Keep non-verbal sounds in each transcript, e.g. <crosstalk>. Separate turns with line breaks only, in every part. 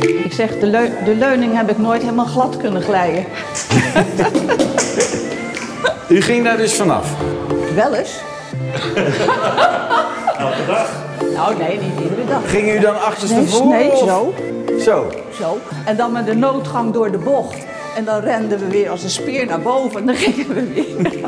Ik zeg, de, leu- de leuning heb ik nooit helemaal glad kunnen glijden.
U ging daar dus vanaf.
Wel eens. <laughs> Elke dag? Nou, nee, niet iedere dag.
Ging u dan achterstevoren?
nee,
of-
zo.
Zo.
Zo. En dan met de noodgang door de bocht. En dan renden we weer als een speer naar boven. En dan gingen we weer.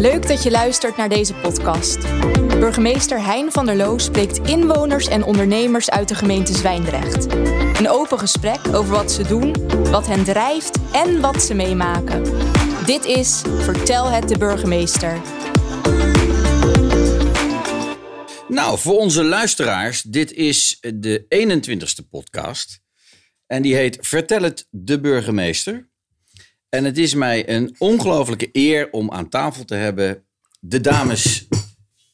Leuk dat je luistert naar deze podcast. Burgemeester Hein van der Loo spreekt inwoners en ondernemers uit de gemeente Zwijndrecht. Een open gesprek over wat ze doen, wat hen drijft en wat ze meemaken. Dit is Vertel het de burgemeester.
Nou, voor onze luisteraars, dit is de 21ste podcast. En die heet Vertel het de burgemeester. En het is mij een ongelooflijke eer om aan tafel te hebben de dames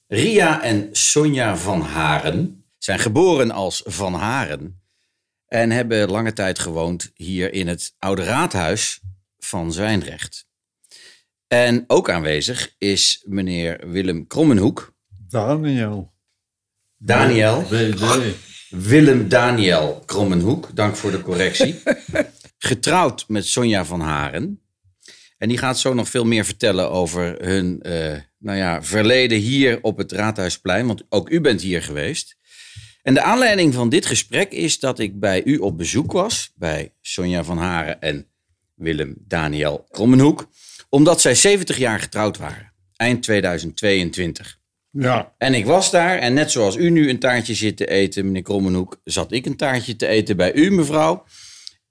Ria en Sonja van Haren. Zijn geboren als Van Haren en hebben lange tijd gewoond hier in het Oude Raadhuis van Zwijndrecht. En ook aanwezig is meneer Willem Krommenhoek,
Daniel.
Daniel.
BD.
Willem Daniel Krommenhoek, dank voor de correctie. Getrouwd met Sonja van Haren. En die gaat zo nog veel meer vertellen over hun eh, nou ja, verleden hier op het Raadhuisplein. Want ook u bent hier geweest. En de aanleiding van dit gesprek is dat ik bij u op bezoek was. Bij Sonja van Haren en Willem Daniel Krommenhoek. Omdat zij 70 jaar getrouwd waren. Eind 2022.
Ja,
En ik was daar en net zoals u nu een taartje zit te eten, meneer Krommenhoek, zat ik een taartje te eten bij u, mevrouw.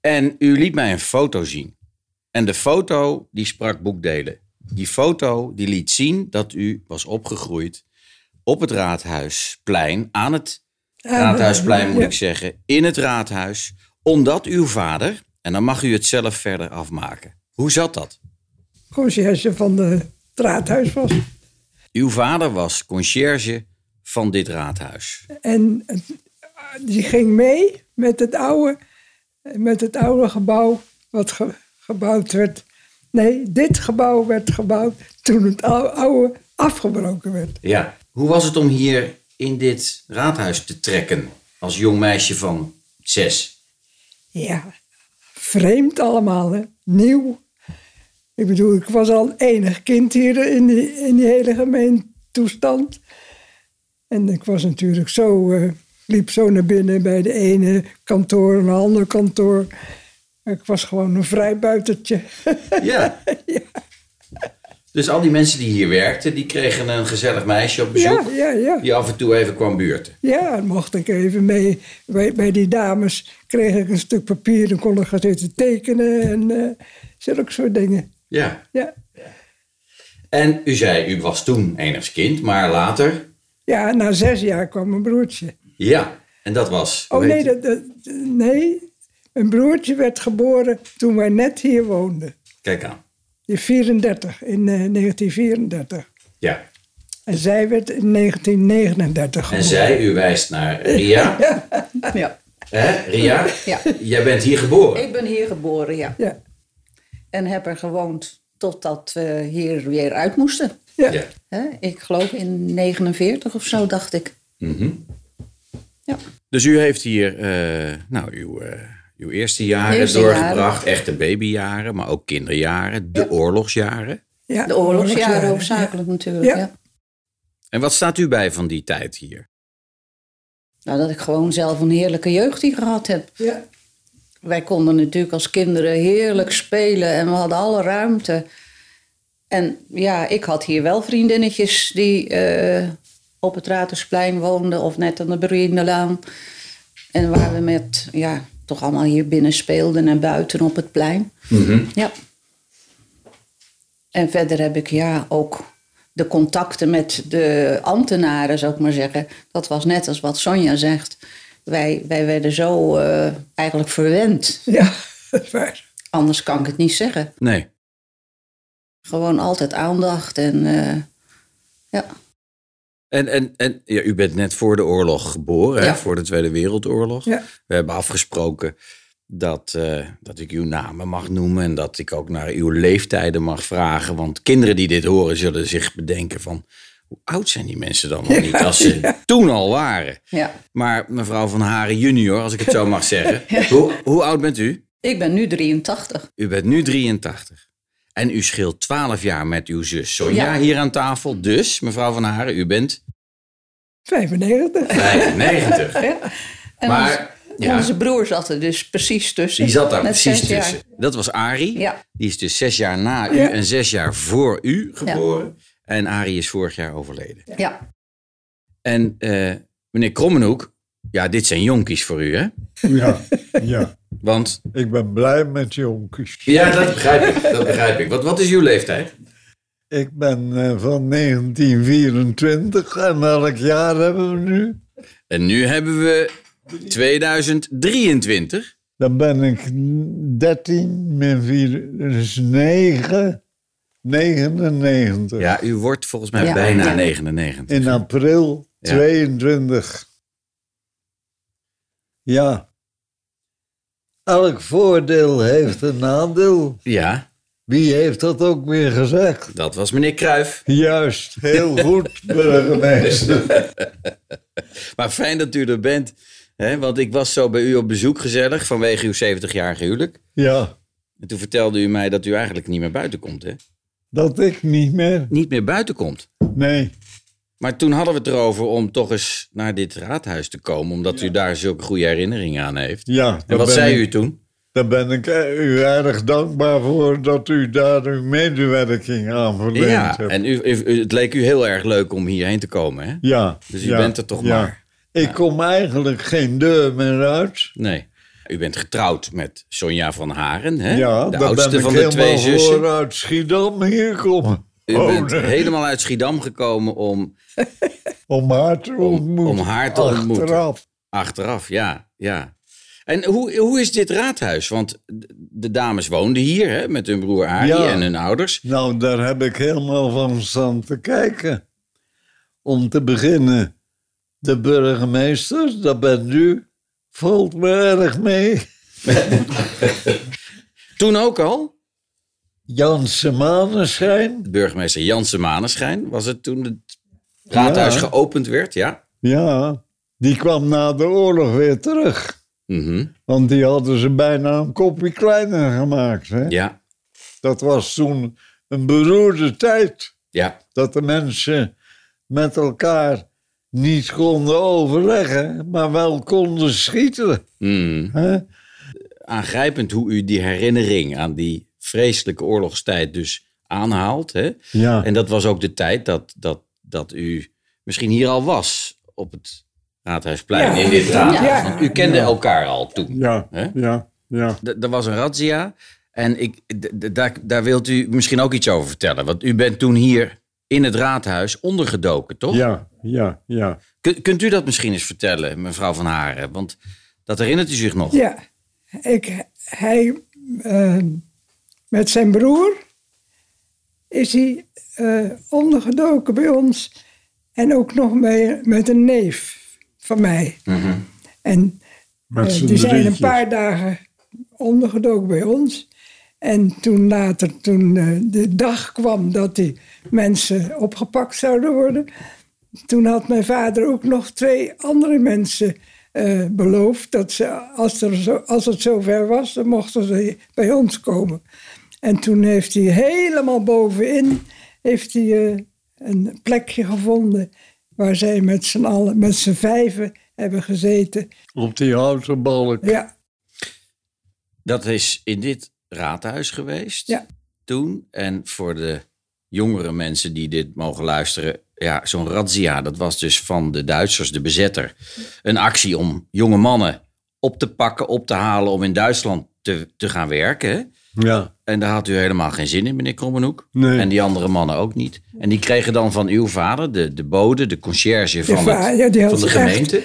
En u liet mij een foto zien. En de foto, die sprak boekdelen. Die foto, die liet zien dat u was opgegroeid op het Raadhuisplein, aan het Raadhuisplein moet ik zeggen, in het Raadhuis, omdat uw vader, en dan mag u het zelf verder afmaken. Hoe zat dat?
conciërge van de Traathuis was.
Uw vader was conciërge van dit raadhuis.
En eh, die ging mee met het oude, met het oude gebouw wat ge- gebouwd werd. Nee, dit gebouw werd gebouwd toen het ou- oude afgebroken werd.
Ja. Hoe was het om hier in dit raadhuis te trekken als jong meisje van zes?
Ja, vreemd allemaal, hè? nieuw. Ik bedoel, ik was al enig kind hier in die, in die hele gemeentoestand. En ik was natuurlijk zo, eh, liep zo naar binnen bij de ene kantoor en de andere kantoor. Ik was gewoon een <laughs> vrijbuitertje.
<laughs> Ja. Dus al die mensen die hier werkten, die kregen een gezellig meisje op bezoek.
Ja, ja, ja.
Die af en toe even kwam buurten.
Ja, en mocht ik even mee. Bij, bij die dames kreeg ik een stuk papier en kon ik gaan zitten tekenen en eh, zulke soort dingen.
Ja.
Ja.
En u zei, u was toen enigszins kind, maar later...
ja, na zes jaar kwam mijn broertje.
Ja. En dat was...
Oh
hoe
nee,
heet het?
dat, dat- nee, mijn broertje werd geboren toen wij net hier woonden.
Kijk aan.
In 34, in eh, 1934.
Ja.
En zij werd in 1939
En
geboren.
zij, u wijst naar Ria.
<laughs>
<laughs>
Ja.
Hè, Ria?
Ja.
Jij bent hier geboren.
Ik ben hier geboren, ja.
Ja,
En heb er gewoond totdat we hier weer uit moesten.
ja.
Ja.
Hè? Ik geloof in 49 of zo, dacht ik. Ja.
Dus u heeft hier eh, nou, uw, eh, uw eerste jaren
Eerste
doorgebracht. Echte babyjaren, maar ook kinderjaren. De oorlogsjaren.
Ja,
De oorlogsjaren hoofdzakelijk natuurlijk. Ja.
Ja.
En wat staat u bij van die tijd hier?
Nou, dat ik gewoon zelf een heerlijke jeugd hier gehad heb.
Ja,
Wij konden natuurlijk als kinderen heerlijk spelen en we hadden alle ruimte. En ja, ik had hier wel vriendinnetjes die eh, op het Ratersplein woonden of net aan de Bruinenlaan. En waar we met, ja, toch allemaal hier binnen speelden en buiten op het plein. Ja. En verder heb ik ja ook de contacten met de ambtenaren, zou ik maar zeggen. Dat was net als wat Sonja zegt. Wij, wij werden zo eh, eigenlijk verwend.
ja, <laughs> dat is waar.
Anders kan ik het niet zeggen.
Nee.
Gewoon altijd aandacht en eh, ja.
En, en, en ja, u bent net voor de oorlog geboren, hè?
Ja.
voor de Tweede Wereldoorlog.
Ja.
We hebben afgesproken dat, eh, dat ik uw namen mag noemen en dat ik ook naar uw leeftijden mag vragen. Want kinderen die dit horen zullen zich bedenken van... Hoe oud zijn die mensen dan nog niet als ze toen al waren?
Ja.
Maar mevrouw Van Haren junior, als ik het zo mag
<laughs>
zeggen. Hoe, hoe oud bent u?
Ik ben nu 83.
U bent nu 83. En u scheelt 12 jaar met uw zus Sonja
Ja.
hier aan tafel. Dus, mevrouw Van Haren, u bent
95.
95.
En
Maar,
onze,
ja.
onze broer zat er dus precies tussen.
Die zat daar
Met
precies
zes jaar.
tussen. Dat was Arie.
Ja.
Die is dus zes jaar na u
Ja.
en zes jaar voor u geboren. En Arie is vorig jaar overleden.
Ja.
En eh, meneer Krommenhoek, ja, dit zijn jonkies voor u, hè?
Ja, ja.
Want...
Ik ben blij met jonkies.
Ja, dat begrijp ik. Dat begrijp ik. Wat, wat is uw leeftijd?
Ik ben eh, van 1924 en welk jaar hebben we nu?
En nu hebben we 2023.
Dan ben ik 13 min 4, dus 9, 99.
Ja, u wordt volgens mij
Ja.
bijna
Ja.
99.
In april
Ja.
22. Ja. Elk voordeel heeft een nadeel.
Ja,
Wie heeft dat ook weer gezegd?
dat was meneer Kruif.
Juist, heel goed, burgemeester.
Maar fijn dat u er bent. Hè? Want ik was zo bij u op bezoek gezellig vanwege uw 70-jarige huwelijk.
Ja,
En toen vertelde u mij dat u eigenlijk niet meer buiten komt, hè?
dat ik niet meer.
Niet meer buiten komt.
Nee,
Maar toen hadden we het erover om toch eens naar dit raadhuis te komen, omdat u daar zulke goede herinneringen aan heeft.
ja.
En
daar
wat
ben
zei
ik-
u toen?
Daar ben ik eh, u erg dankbaar voor dat u daar uw medewerking aan verleent
Ja,
hebt.
en u, u- het leek u heel erg leuk om hierheen te komen, hè?
ja,
Dus u
ja,
bent er toch
ja.
maar.
Ik kom eigenlijk geen deur meer uit.
Nee. U bent getrouwd met Sonja van Haren, hè?
Ja,
de
daar
oudste
ben ik
van de twee
helemaal
zussen.
voor uit Schiedam hier komen.
U
Oh,
bent
nee.
helemaal uit Schiedam gekomen om,
Om haar te
om,
ontmoeten.
om haar te ontmoeten.
Achteraf.
Achteraf, ja. ja. En hoe, hoe is dit raadhuis? Want de- de dames woonden hier hè, met hun broer Arie
Ja.
en hun ouders.
Nou, daar heb ik helemaal van staan te kijken. Om te beginnen, de burgemeester, dat bent u, valt me erg mee.
Toen ook al.
Janse Maneschijn.
Burgemeester Jansen Maneschijn was het toen het raadhuis
Ja.
geopend werd, ja.
Ja, die kwam na de oorlog weer terug.
Mhm,
Want die hadden ze bijna een kopje kleiner gemaakt. Hè?
Ja,
Dat was toen een beroerde tijd.
ja.
dat de mensen met elkaar niet konden overleggen, maar wel konden schieten.
Mm.
Hè?
Aangrijpend hoe u die herinnering aan die vreselijke oorlogstijd dus aanhaalt. Hè?
Ja.
En dat was ook de tijd dat, dat, dat u misschien hier al was op het Raadhuisplein
Ja.
in dit raadhuis.
Ja.
Want u kende elkaar al toen.
Ja,
Hè?
ja, ja.
D- Er was een razzia en ik, d- d- daar, daar wilt u misschien ook iets over vertellen. Want u bent toen hier in het raadhuis ondergedoken, toch?
Ja, ja, ja.
Kun- kunt u dat misschien eens vertellen, mevrouw Van Haren? Want dat herinnert u zich nog.
Ja, ik, hij eh, met zijn broer is hij eh, ondergedoken bij ons en ook nog mee, met een neef van mij. En
Met
eh,
z'n
die zijn een
drietjes.
paar dagen ondergedoken bij ons. En toen later, toen eh, de dag kwam dat die mensen opgepakt zouden worden, toen had mijn vader ook nog twee andere mensen eh, beloofd dat ze, als, er zo, als het zover was, dan mochten ze bij ons komen. En toen heeft hij helemaal bovenin heeft hij, eh, een plekje gevonden waar zij met z'n allen, met z'n vijven hebben gezeten.
Op die houten balk.
Ja,
Dat is in dit raadhuis geweest
Ja.
toen. En voor de jongere mensen die dit mogen luisteren. Ja, zo'n razzia, dat was dus van de Duitsers, de bezetter. Een actie om jonge mannen op te pakken, op te halen om in Duitsland te, te gaan werken.
Ja.
En daar had u helemaal geen zin in, meneer Krommenhoek.
Nee.
En die andere mannen ook niet. En die kregen dan van uw vader, de, de bode, de conciërge van,
va-
het-
ja, die had
van de
echt-
gemeente.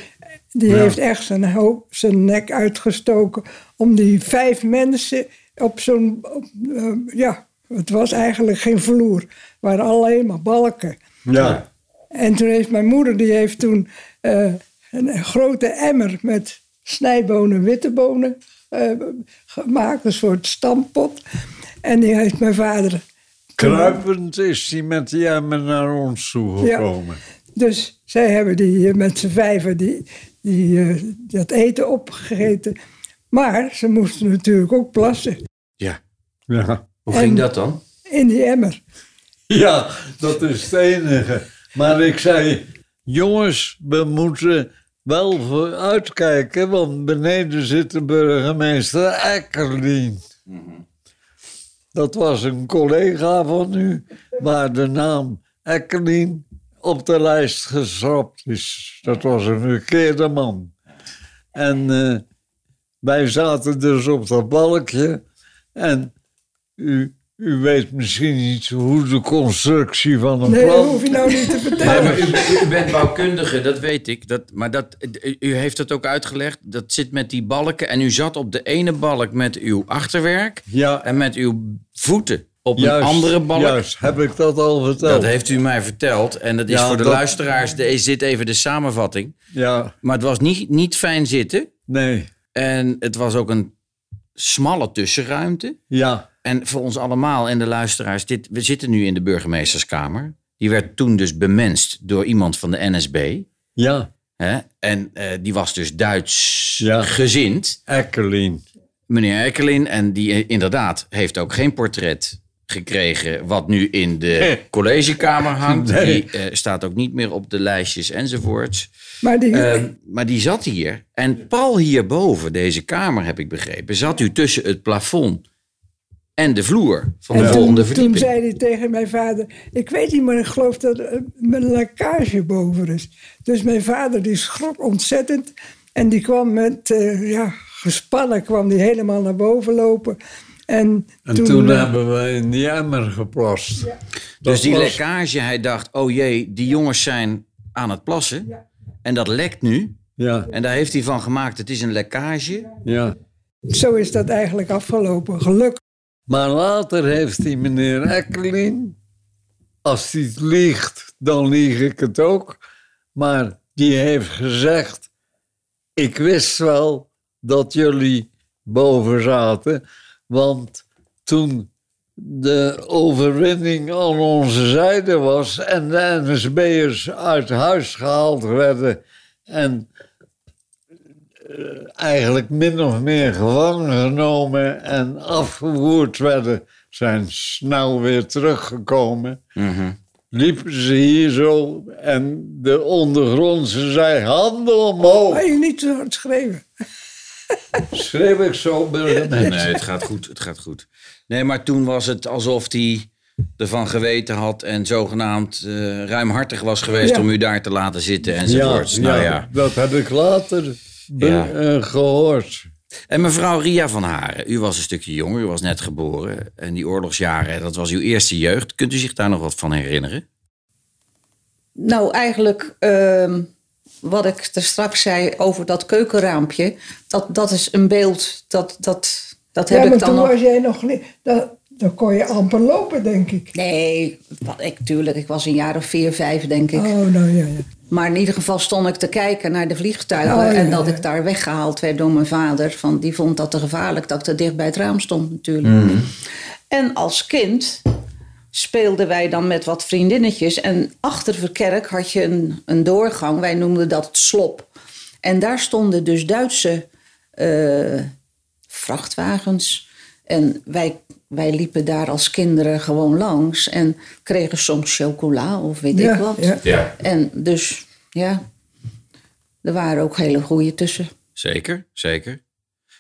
die
Ja.
heeft echt zijn, hoop, zijn nek uitgestoken om die vijf mensen op zo'n. op, eh, ja, het was eigenlijk geen vloer, het waren alleen maar balken.
Ja.
En toen heeft mijn moeder, die heeft toen eh, een, een grote emmer met snijbonen, witte bonen eh, gemaakt, een soort stampot. En die heeft mijn vader
Kruipend is hij met die emmer naar ons toe
Ja.
gekomen.
Dus zij hebben die, eh, met z'n vijven die, die, eh, dat eten opgegeten. Maar ze moesten natuurlijk ook plassen
Ja.
Ja.
Hoe
En-
ging dat dan?
in die emmer.
ja, dat is het enige. Maar ik zei, jongens, we moeten wel voor uitkijken, want beneden zit de burgemeester Eckerlien. Dat was een collega van u, waar de naam Eckerlien op de lijst geschrapt is. Dat was een verkeerde man. En eh, wij zaten dus op dat balkje en u, u weet misschien niet hoe de constructie van een
Nee, dat
plan...
hoef je nou niet te
Nee,
vertellen.
maar u, u bent bouwkundige, dat weet ik. Dat, maar dat, u heeft het ook uitgelegd. Dat zit met die balken. En u zat op de ene balk met uw achterwerk.
Ja.
En met uw voeten op
Juist,
een andere balk.
Juist, heb ik dat al verteld.
Dat heeft u mij verteld. En dat is
Ja,
voor de
dat-
luisteraars. De, is dit even de samenvatting.
Ja,
Maar het was niet, niet fijn zitten.
nee,
En het was ook een smalle tussenruimte.
ja,
En voor ons allemaal en de luisteraars, dit, we zitten nu in de burgemeesterskamer. Die werd toen dus bemenst door iemand van de NSB.
ja,
Hè? En eh, die was dus Duits
Ja.
gezind,
Eckerlin.
meneer Erkelin. En die eh, inderdaad heeft ook geen portret gekregen wat nu in de collegekamer hangt.
Nee.
Die eh, staat ook niet meer op de lijstjes enzovoorts.
Maar die,
Ehm, maar die zat hier. En pal hierboven, deze kamer heb ik begrepen, zat u tussen het plafond en de vloer van de
en
volgende
toen, toen
verdieping.
zei hij tegen mijn vader... Ik weet niet, maar ik geloof dat er een lekkage boven is. Dus mijn vader die schrok ontzettend. En die kwam met, eh, ja, gespannen kwam die helemaal naar boven lopen. En,
En toen,
eh,
hebben we in die emmer geplast.
Dus die
was-
lekkage, hij dacht, oh jee, die jongens zijn aan het plassen. En dat lekt nu.
Ja,
En daar heeft hij van gemaakt, het is een lekkage.
ja.
Zo is dat eigenlijk afgelopen, gelukkig.
Maar later heeft die meneer Eckerlin, als hij het liegt, dan lieg ik het ook. Maar die heeft gezegd, ik wist wel dat jullie boven zaten. Want toen de overwinning aan onze zijde was en de NSB'ers uit huis gehaald werden en eigenlijk min of meer gevangen genomen en afgevoerd werden, zijn snel weer teruggekomen. Liepen ze hier zo en de ondergrondse zei: handen omhoog.
Maar je niet zo hard schreeuwen.
Schreef ik zo,
<laughs>
burgemeester.
Nee, het gaat goed, het gaat goed. Nee, maar toen was het alsof hij ervan geweten had en zogenaamd eh, ruimhartig was geweest
Ja.
om u daar te laten zitten enzovoorts. nou, ja.
dat heb ik later be-
Ja.
eh, gehoord.
En mevrouw Ria van Haren, u was een stukje jonger, u was net geboren. En die oorlogsjaren, dat was uw eerste jeugd. Kunt u zich daar nog wat van herinneren?
Nou, eigenlijk ehm, wat ik er straks zei over dat keukenraampje. Dat, dat is een beeld, dat, dat, dat heb
ja, maar
ik dan
toen
nog.
was jij nog niet... Dan, dan kon je amper lopen, denk ik.
Nee, wat ik, tuurlijk, ik was een jaar of vier, vijf denk ik.
Oh, nou ja, ja.
Maar in ieder geval stond ik te kijken naar de vliegtuigen.
Oh, ja,
en dat
ja.
ik daar weggehaald werd door mijn vader. Van, die vond dat te gevaarlijk dat ik te dicht bij het raam stond natuurlijk. En als kind speelden wij dan met wat vriendinnetjes. En achter Verkerk had je een, een doorgang. Wij noemden dat het slop. En daar stonden dus Duitse eh, vrachtwagens. En wij, wij liepen daar als kinderen gewoon langs. En kregen soms chocola of weet
Ja,
ik wat.
ja.
Ja.
En dus, ja, er waren ook hele goede tussen.
Zeker, zeker.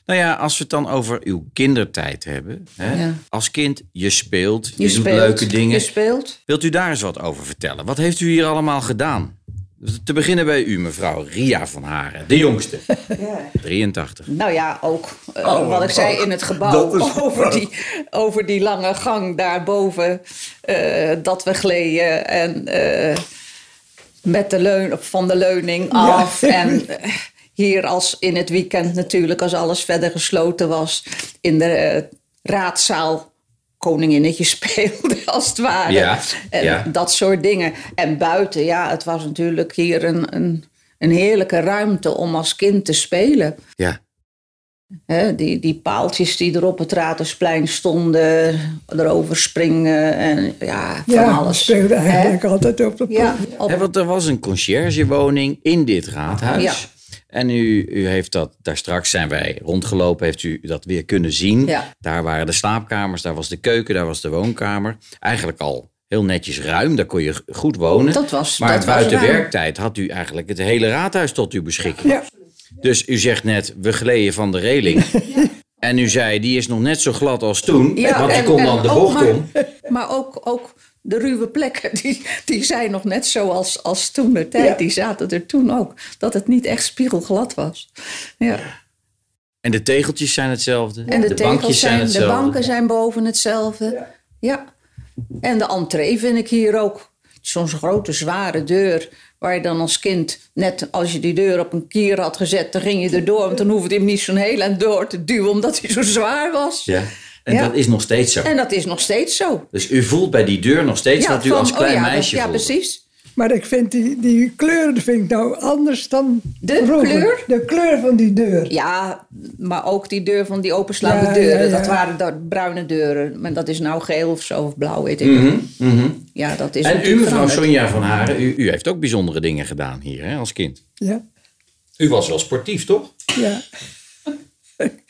Nou ja, als we het dan over uw kindertijd hebben. Hè?
Ja.
Als kind, je speelt, je,
Je
doet
speelt,
leuke dingen.
Je speelt.
Wilt u daar eens wat over vertellen? Wat heeft u hier allemaal gedaan? Te beginnen bij u, mevrouw Ria van Haren, de
<laughs>
jongste. 83.
Nou ja, ook eh, wat ik zei in het gebouw
dat is-
<laughs> over, die, over die lange gang daarboven. eh, dat we gleden en eh, met de leun, van de leuning af. En eh, hier als in het weekend natuurlijk, als alles verder gesloten was, in de eh, raadzaal koninginnetje <laughs> speelde als het ware.
Ja,
en
ja.
dat soort dingen. En buiten, ja, het was natuurlijk hier een, een, een heerlijke ruimte om als kind te spelen.
Ja.
Hè, die, die paaltjes die er op het Ratersplein stonden, erover springen en ja, van
ja,
alles.
speelde
Hè?
eigenlijk altijd op de
Ja, op-
Hè, want er was een conciërgewoning in dit raadhuis.
Ja.
En u, u heeft dat, daar straks zijn wij rondgelopen, heeft u dat weer kunnen zien.
Ja.
Daar waren de slaapkamers, daar was de keuken, daar was de woonkamer. Eigenlijk al heel netjes ruim, daar kon je g- goed wonen.
Dat was-
maar
dat was
buiten
ruim.
werktijd had u eigenlijk het hele raadhuis tot uw beschikking.
Ja,
Dus u zegt net, we gleden van de reling. En u zei, die is nog net zo glad als toen,
ja,
want die
en-
kon
en
dan de
ook
bocht
maar,
om.
Maar ook, ook de ruwe plekken, die, die zijn nog net zoals als toen de tijd.
Ja.
Die zaten er toen ook. Dat het niet echt spiegelglad was. Ja.
En de tegeltjes zijn hetzelfde,
En de,
bankjes
tegels
zijn
zijn, de
hetzelfde.
banken zijn boven hetzelfde. Ja. En de entree vind ik hier ook. Zo'n grote zware deur waar je dan als kind, net als je die deur op een kier had gezet, dan ging je erdoor. Want dan hoefde je hem niet zo'n heel eind door te duwen omdat hij zo zwaar was.
Ja. En
Ja.
dat is nog steeds zo.
En dat is nog steeds zo.
Dus u voelt bij die deur nog steeds dat u
van,
als klein
oh ja, dat-
meisje
Ja,
voelde.
precies.
maar ik vind die, die kleuren vind ik nou anders dan
De
vroeger.
kleur?
De kleur van die deur.
Ja, maar ook die deur van die openslaande
Ja,
deuren.
ja, ja.
Dat waren dat bruine deuren. Maar dat is nou geel of zo, of blauw, weet ik.
Mhm, mhm.
Ja, dat is
En u,
natuurlijk
mevrouw
veranderd.
Sonja van Haren, u, u heeft ook bijzondere dingen gedaan hier hè, als kind.
Ja,
U was wel sportief, toch?
ja.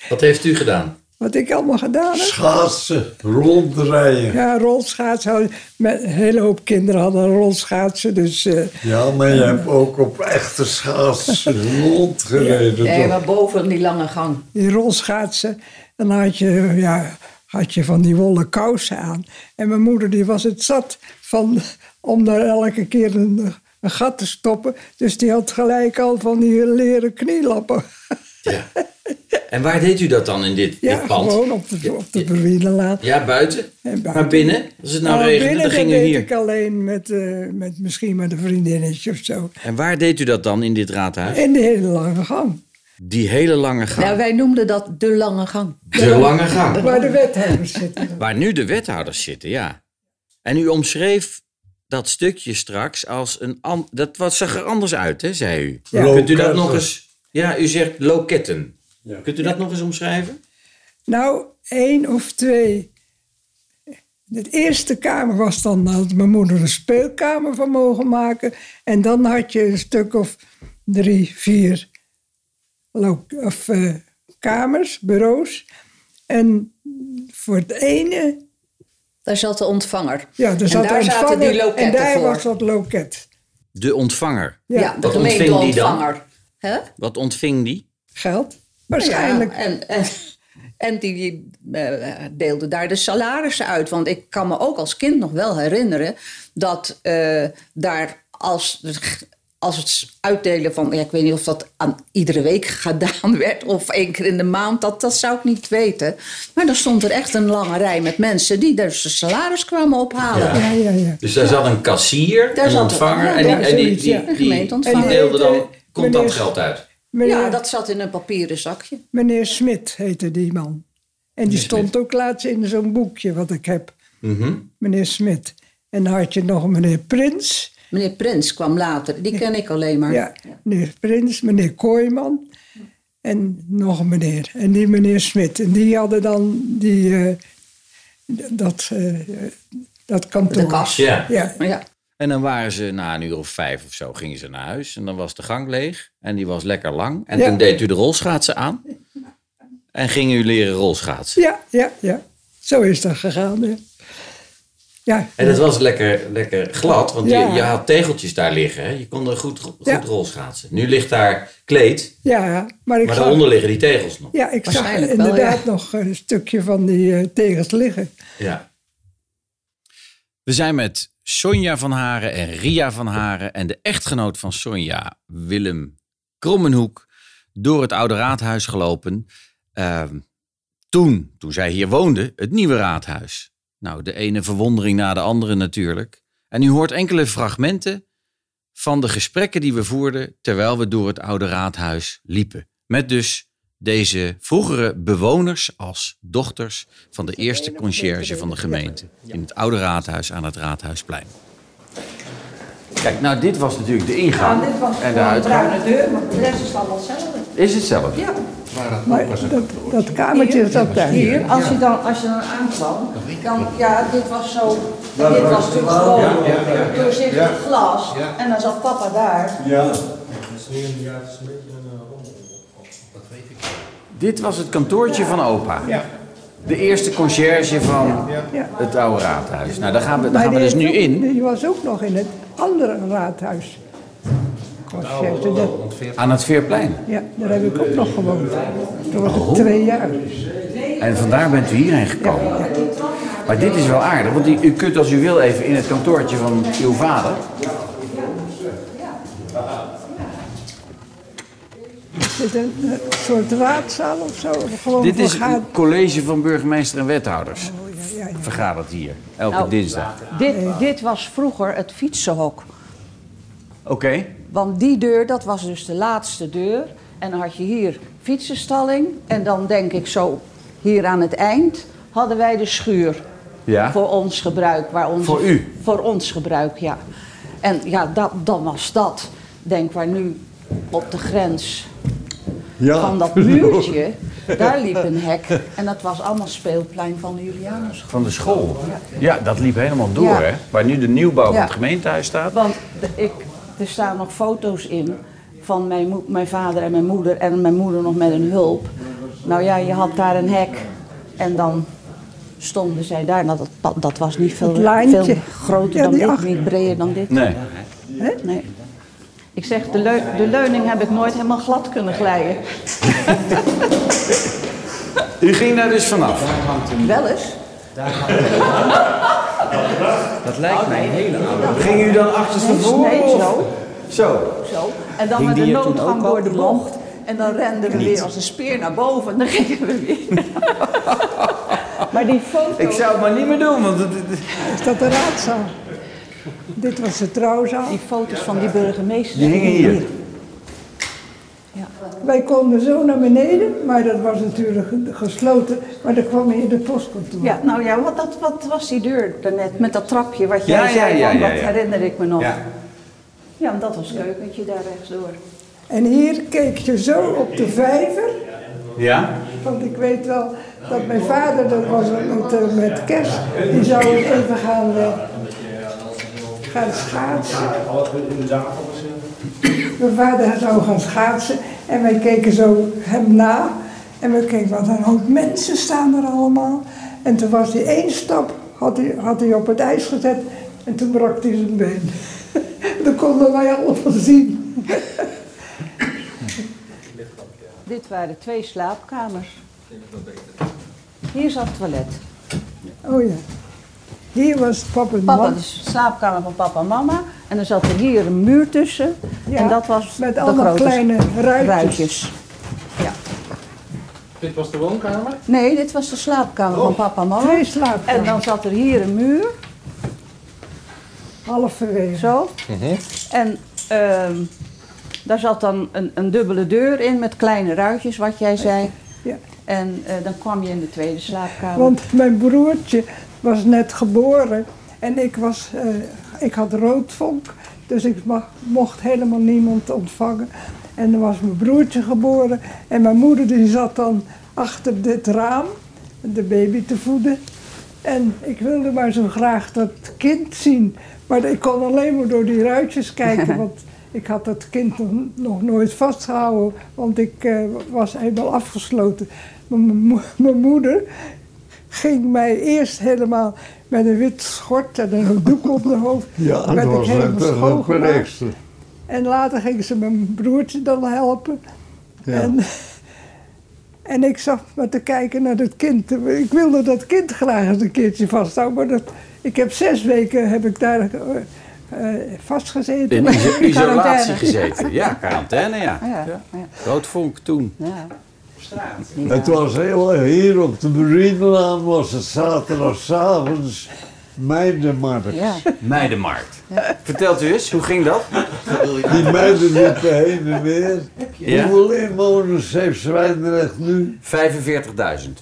Wat heeft u gedaan?
Wat ik allemaal gedaan heb.
Schaatsen, rondrijden.
Ja, rolschaatsen. hadden- Met een hele hoop kinderen hadden rolschaatsen. Dus eh,
Ja, maar je hebt ook op echte schaatsen rondgereden.
Nee,
toch?
maar boven die lange gang.
die rolschaatsen. En dan had je, ja, had je van die wollen kousen aan. En mijn moeder die was het zat van, om daar elke keer een, een gat te stoppen. Dus die had gelijk al van die leren knielappen.
Ja. En waar deed u dat dan in dit,
Ja,
dit pand?
gewoon op de, op de Berwielenlaan.
Ja, buiten?
buiten.
Maar binnen? Als het nou
Nou,
regende,
binnen
dan
dat
ging u
deed
hier.
ik alleen met, eh, met misschien met een vriendinnetje of zo.
En waar deed u dat dan in dit raadhuis?
In de hele lange gang.
Die hele lange gang.
Nou, wij noemden dat de lange gang.
de lange gang.
Waar de wethouders zitten.
Waar nu de wethouders zitten, ja. En u omschreef dat stukje straks als een... an- dat was, zag er anders uit, hè, zei u.
Ja.
Kunt u dat
Loketten.
nog eens... Ja, u zegt loketten.
Ja.
Kunt u dat nog eens omschrijven?
Nou, één of twee. De eerste kamer was dan dat mijn moeder een speelkamer van mogen maken. En dan had je een stuk of drie, vier lo- of, eh, kamers, bureaus. En voor het ene,
Daar zat de ontvanger.
ja, er zat
en daar
een
zaten
vanger
die loketten
En daar
voor.
was dat loket.
De ontvanger.
ja,
Ja,
de
Wat ontving die dan?
gemeenteontvanger. Hè?
Wat ontving die?
geld. Waarschijnlijk.
Ja, en, en, en die, die eh, deelde daar de salarissen uit. Want ik kan me ook als kind nog wel herinneren dat eh, daar als, als het uitdelen van, ja, ik weet niet of dat aan iedere week <laughs> gedaan werd of één keer in de maand, dat, dat zou ik niet weten. Maar dan stond er echt een lange rij met mensen die dus de salaris kwamen ophalen.
Ja.
Ja, ja, ja.
Dus daar zat een kassier,
Daar
een
zat-
ontvanger...
ja,
en die,
ja,
en die,
zoiets, ja.
die, die,
Gemeenteontvanger.
die deelde
eh,
dan...
Meneer-
Komt dat
meneer-
geld uit?
Meneer,
ja, dat zat in een papieren zakje.
meneer Smit heette die man. En die stond ook laatst in zo'n boekje wat ik heb.
Mhm.
meneer Smit. En dan had je nog meneer Prins.
Meneer Prins kwam later, die ken ik alleen maar.
Ja, meneer Prins, meneer Kooijman. En nog een meneer. En die meneer Smit. En die hadden dan die, eh, d- dat, eh, dat kantoor.
De kas.
Ja.
Ja,
Ja.
En dan waren ze na een uur of vijf of zo, gingen ze naar huis. En dan was de gang leeg. En die was lekker lang. En
Ja.
toen deed u de rolschaatsen aan. En ging u leren rolschaatsen.
ja, ja. ja. Zo is dat gegaan. Ja. Ja,
En dat was lekker, lekker glad, want
Ja.
je, je had tegeltjes daar liggen. Hè? Je kon er goed, goed
Ja.
rolschaatsen. Nu ligt daar kleed,
ja, maar
maar
ik zag,
daaronder liggen die tegels nog.
ja, ik zag
Waarschijnlijk wel,
inderdaad nog een stukje van die eh, tegels liggen.
Ja. We zijn met Sonja van Haren en Ria van Haren en de echtgenoot van Sonja, Willem Krommenhoek, door het oude raadhuis gelopen. Ehm, toen, toen zij hier woonde, het nieuwe raadhuis. Nou, de ene verwondering na de andere natuurlijk. En u hoort enkele fragmenten van de gesprekken die we voerden terwijl we door het oude raadhuis liepen. Met dus deze vroegere bewoners als dochters van de eerste conciërge van de gemeente. In het oude raadhuis aan het raadhuisplein. Kijk, nou dit was natuurlijk de ingang
dit was
en
en
de
een
uitgang.
bruine deur, maar de rest is allemaal hetzelfde.
Is hetzelfje.
Ja,
Maar dat, dat kamertje zat daar.
hier, als je dan, als je dan aankwam, dan, ja, dit was zo, dit was natuurlijk gewoon doorzichtig glas. En dan zat papa daar.
Ja.
Dit was het kantoortje van opa. De eerste conciërge van
Ja.
het oude raadhuis. Nou, daar gaan we, daar
Maar
gaan we
die
dus
is
nu
ook-
in,
Die was ook nog in het andere raadhuis. Concerte, dat-
aan het Veerplein.
ja, daar heb ik ook nog gewoond. Toen was
Oh.
het twee jaar.
En vandaar bent u hierheen gekomen. Maar dit is wel aardig, want u- u kunt als u wil even in het kantoortje van uw vader.
Is dit een eh, soort raadzaal of zo? Of Gewoon
Dit is
vergaat-
het college van burgemeester en wethouders.
Oh,
ja, ja.
Vergadert hier, elke
Oh.
Nou.
dinsdag.
Dit, dit was vroeger het fietsenhok.
Oké,
Want die deur, dat was dus de laatste deur. En dan had je hier fietsenstalling. En dan denk ik zo, hier aan het eind, hadden wij de schuur.
Ja.
Voor ons gebruik. Waar onze,
Voor u?
Voor ons gebruik, ja. En ja, dat, dan was dat, denk waar nu op de grens
Ja.
van dat muurtje, daar liep een hek. En dat was allemaal speelplein van de Julianus.
van de school. Ja, dat liep helemaal door,
Ja.
hè? Waar nu de nieuwbouw van
Ja.
het gemeentehuis staat.
Want de- ik, er staan nog foto's in van mijn, moe- mijn vader en mijn moeder en mijn moeder nog met een hulp. Nou ja, je had daar een hek en dan stonden zij daar. Nou, dat, pad, dat was niet veel,
Het lijntje.
veel groter
Ja,
dan
die
dit,
achter-
niet breder dan dit.
Nee.
Nee. Ik zeg, de, leu- de leuning heb ik nooit helemaal glad kunnen glijden.
U ging daar dus vanaf.
Wel eens.
Dat lijkt mij heel aardig. Ging u dan achterstevoren?
Nee,
of-
zo.
Zo.
Zo. En dan
Hing
met de
die er toen ook
noodgang
al
door de
die lamp?
bocht. En dan renden we weer als een speer naar boven. En dan gingen we weer.
<laughs>
maar die foto...
Ik zou het maar niet meer doen, want het, het-
Is dat de raadzaal? Dit was de trouwzaal.
Die foto's van die burgemeester.
Die hingen hier.
Wij konden zo naar beneden, maar dat was natuurlijk ge- gesloten. Maar dan kwam hier de postkantoor.
Ja, nou ja, wat, dat, wat was die deur daarnet met dat trapje wat
Ja,
jij
ja,
zei?
ja,
van,
ja,
Dat
ja.
herinner ik me nog.
Ja.
Ja, want dat was leuk, want je daar rechtsdoor.
En hier keek je zo op de vijver.
Ja?
Want ik weet wel dat mijn vader, dat was met, eh, met kerst, die zou eens even gaan, eh, gaan schaatsen. Mijn vader zou gaan schaatsen en wij keken zo hem na. En we keken, wat een hoop mensen staan er allemaal. En toen was hij één stap, had hij, had hij op het ijs gezet en toen brak hij zijn been. <laughs> dat konden wij allemaal zien. <laughs>
Dit waren twee slaapkamers. Hier zat het toilet.
Oh ja. Hier was papa's
Papa, dus.
man.
de slaapkamer van papa en mama. En er zat er hier een muur tussen.
Ja,
en dat was
met
de
allemaal
grote
kleine ruitjes.
Ja.
Dit was de woonkamer? Oh.
Nee, dit was de slaapkamer van papa en mama.
Twee slaapkamers.
En dan zat er hier een muur.
Halverwege.
Zo.
Mhm.
En ehm, daar zat dan een, een dubbele deur in met kleine ruitjes, wat jij zei.
Ja.
En eh, dan kwam je in de tweede slaapkamer.
Want mijn broertje was net geboren en ik, was, eh, ik had roodvonk, dus ik mag- mocht helemaal niemand ontvangen. En dan was mijn broertje geboren en mijn moeder die zat dan achter dit raam de baby te voeden. En ik wilde maar zo graag dat kind zien, maar ik kon alleen maar door die ruitjes kijken, want ik had dat kind nog, nog nooit vastgehouden, want ik eh, was helemaal afgesloten. Maar Mijn mo- mijn moeder ging mij eerst helemaal met een wit schort en een doek op mijn hoofd.
Ja, dat
werd ik
was
helemaal
net de
schoongemaakt.
verpleegster.
En later ging ze mijn broertje dan helpen.
Ja.
En, <laughs> en ik zag maar te kijken naar dat kind. Ik wilde dat kind graag eens een keertje vasthouden. Maar dat, ik heb zes weken heb ik daar eh, eh, vastgezeten.
In iso- isolatie
Quarantaine.
gezeten. Ja, quarantaine, ja.
Ah, ja, ja. ja.
Roodvonk toen.
Ja.
Het was heel, hier op de Marinelaan was het zaterdagavond meidenmarkt.
Ja.
Meidenmarkt. Vertelt u eens, hoe ging dat?
Die meiden liepen heen en weer.
Ja.
Hoeveel inwoners heeft Zwijndrecht nu?
45.000.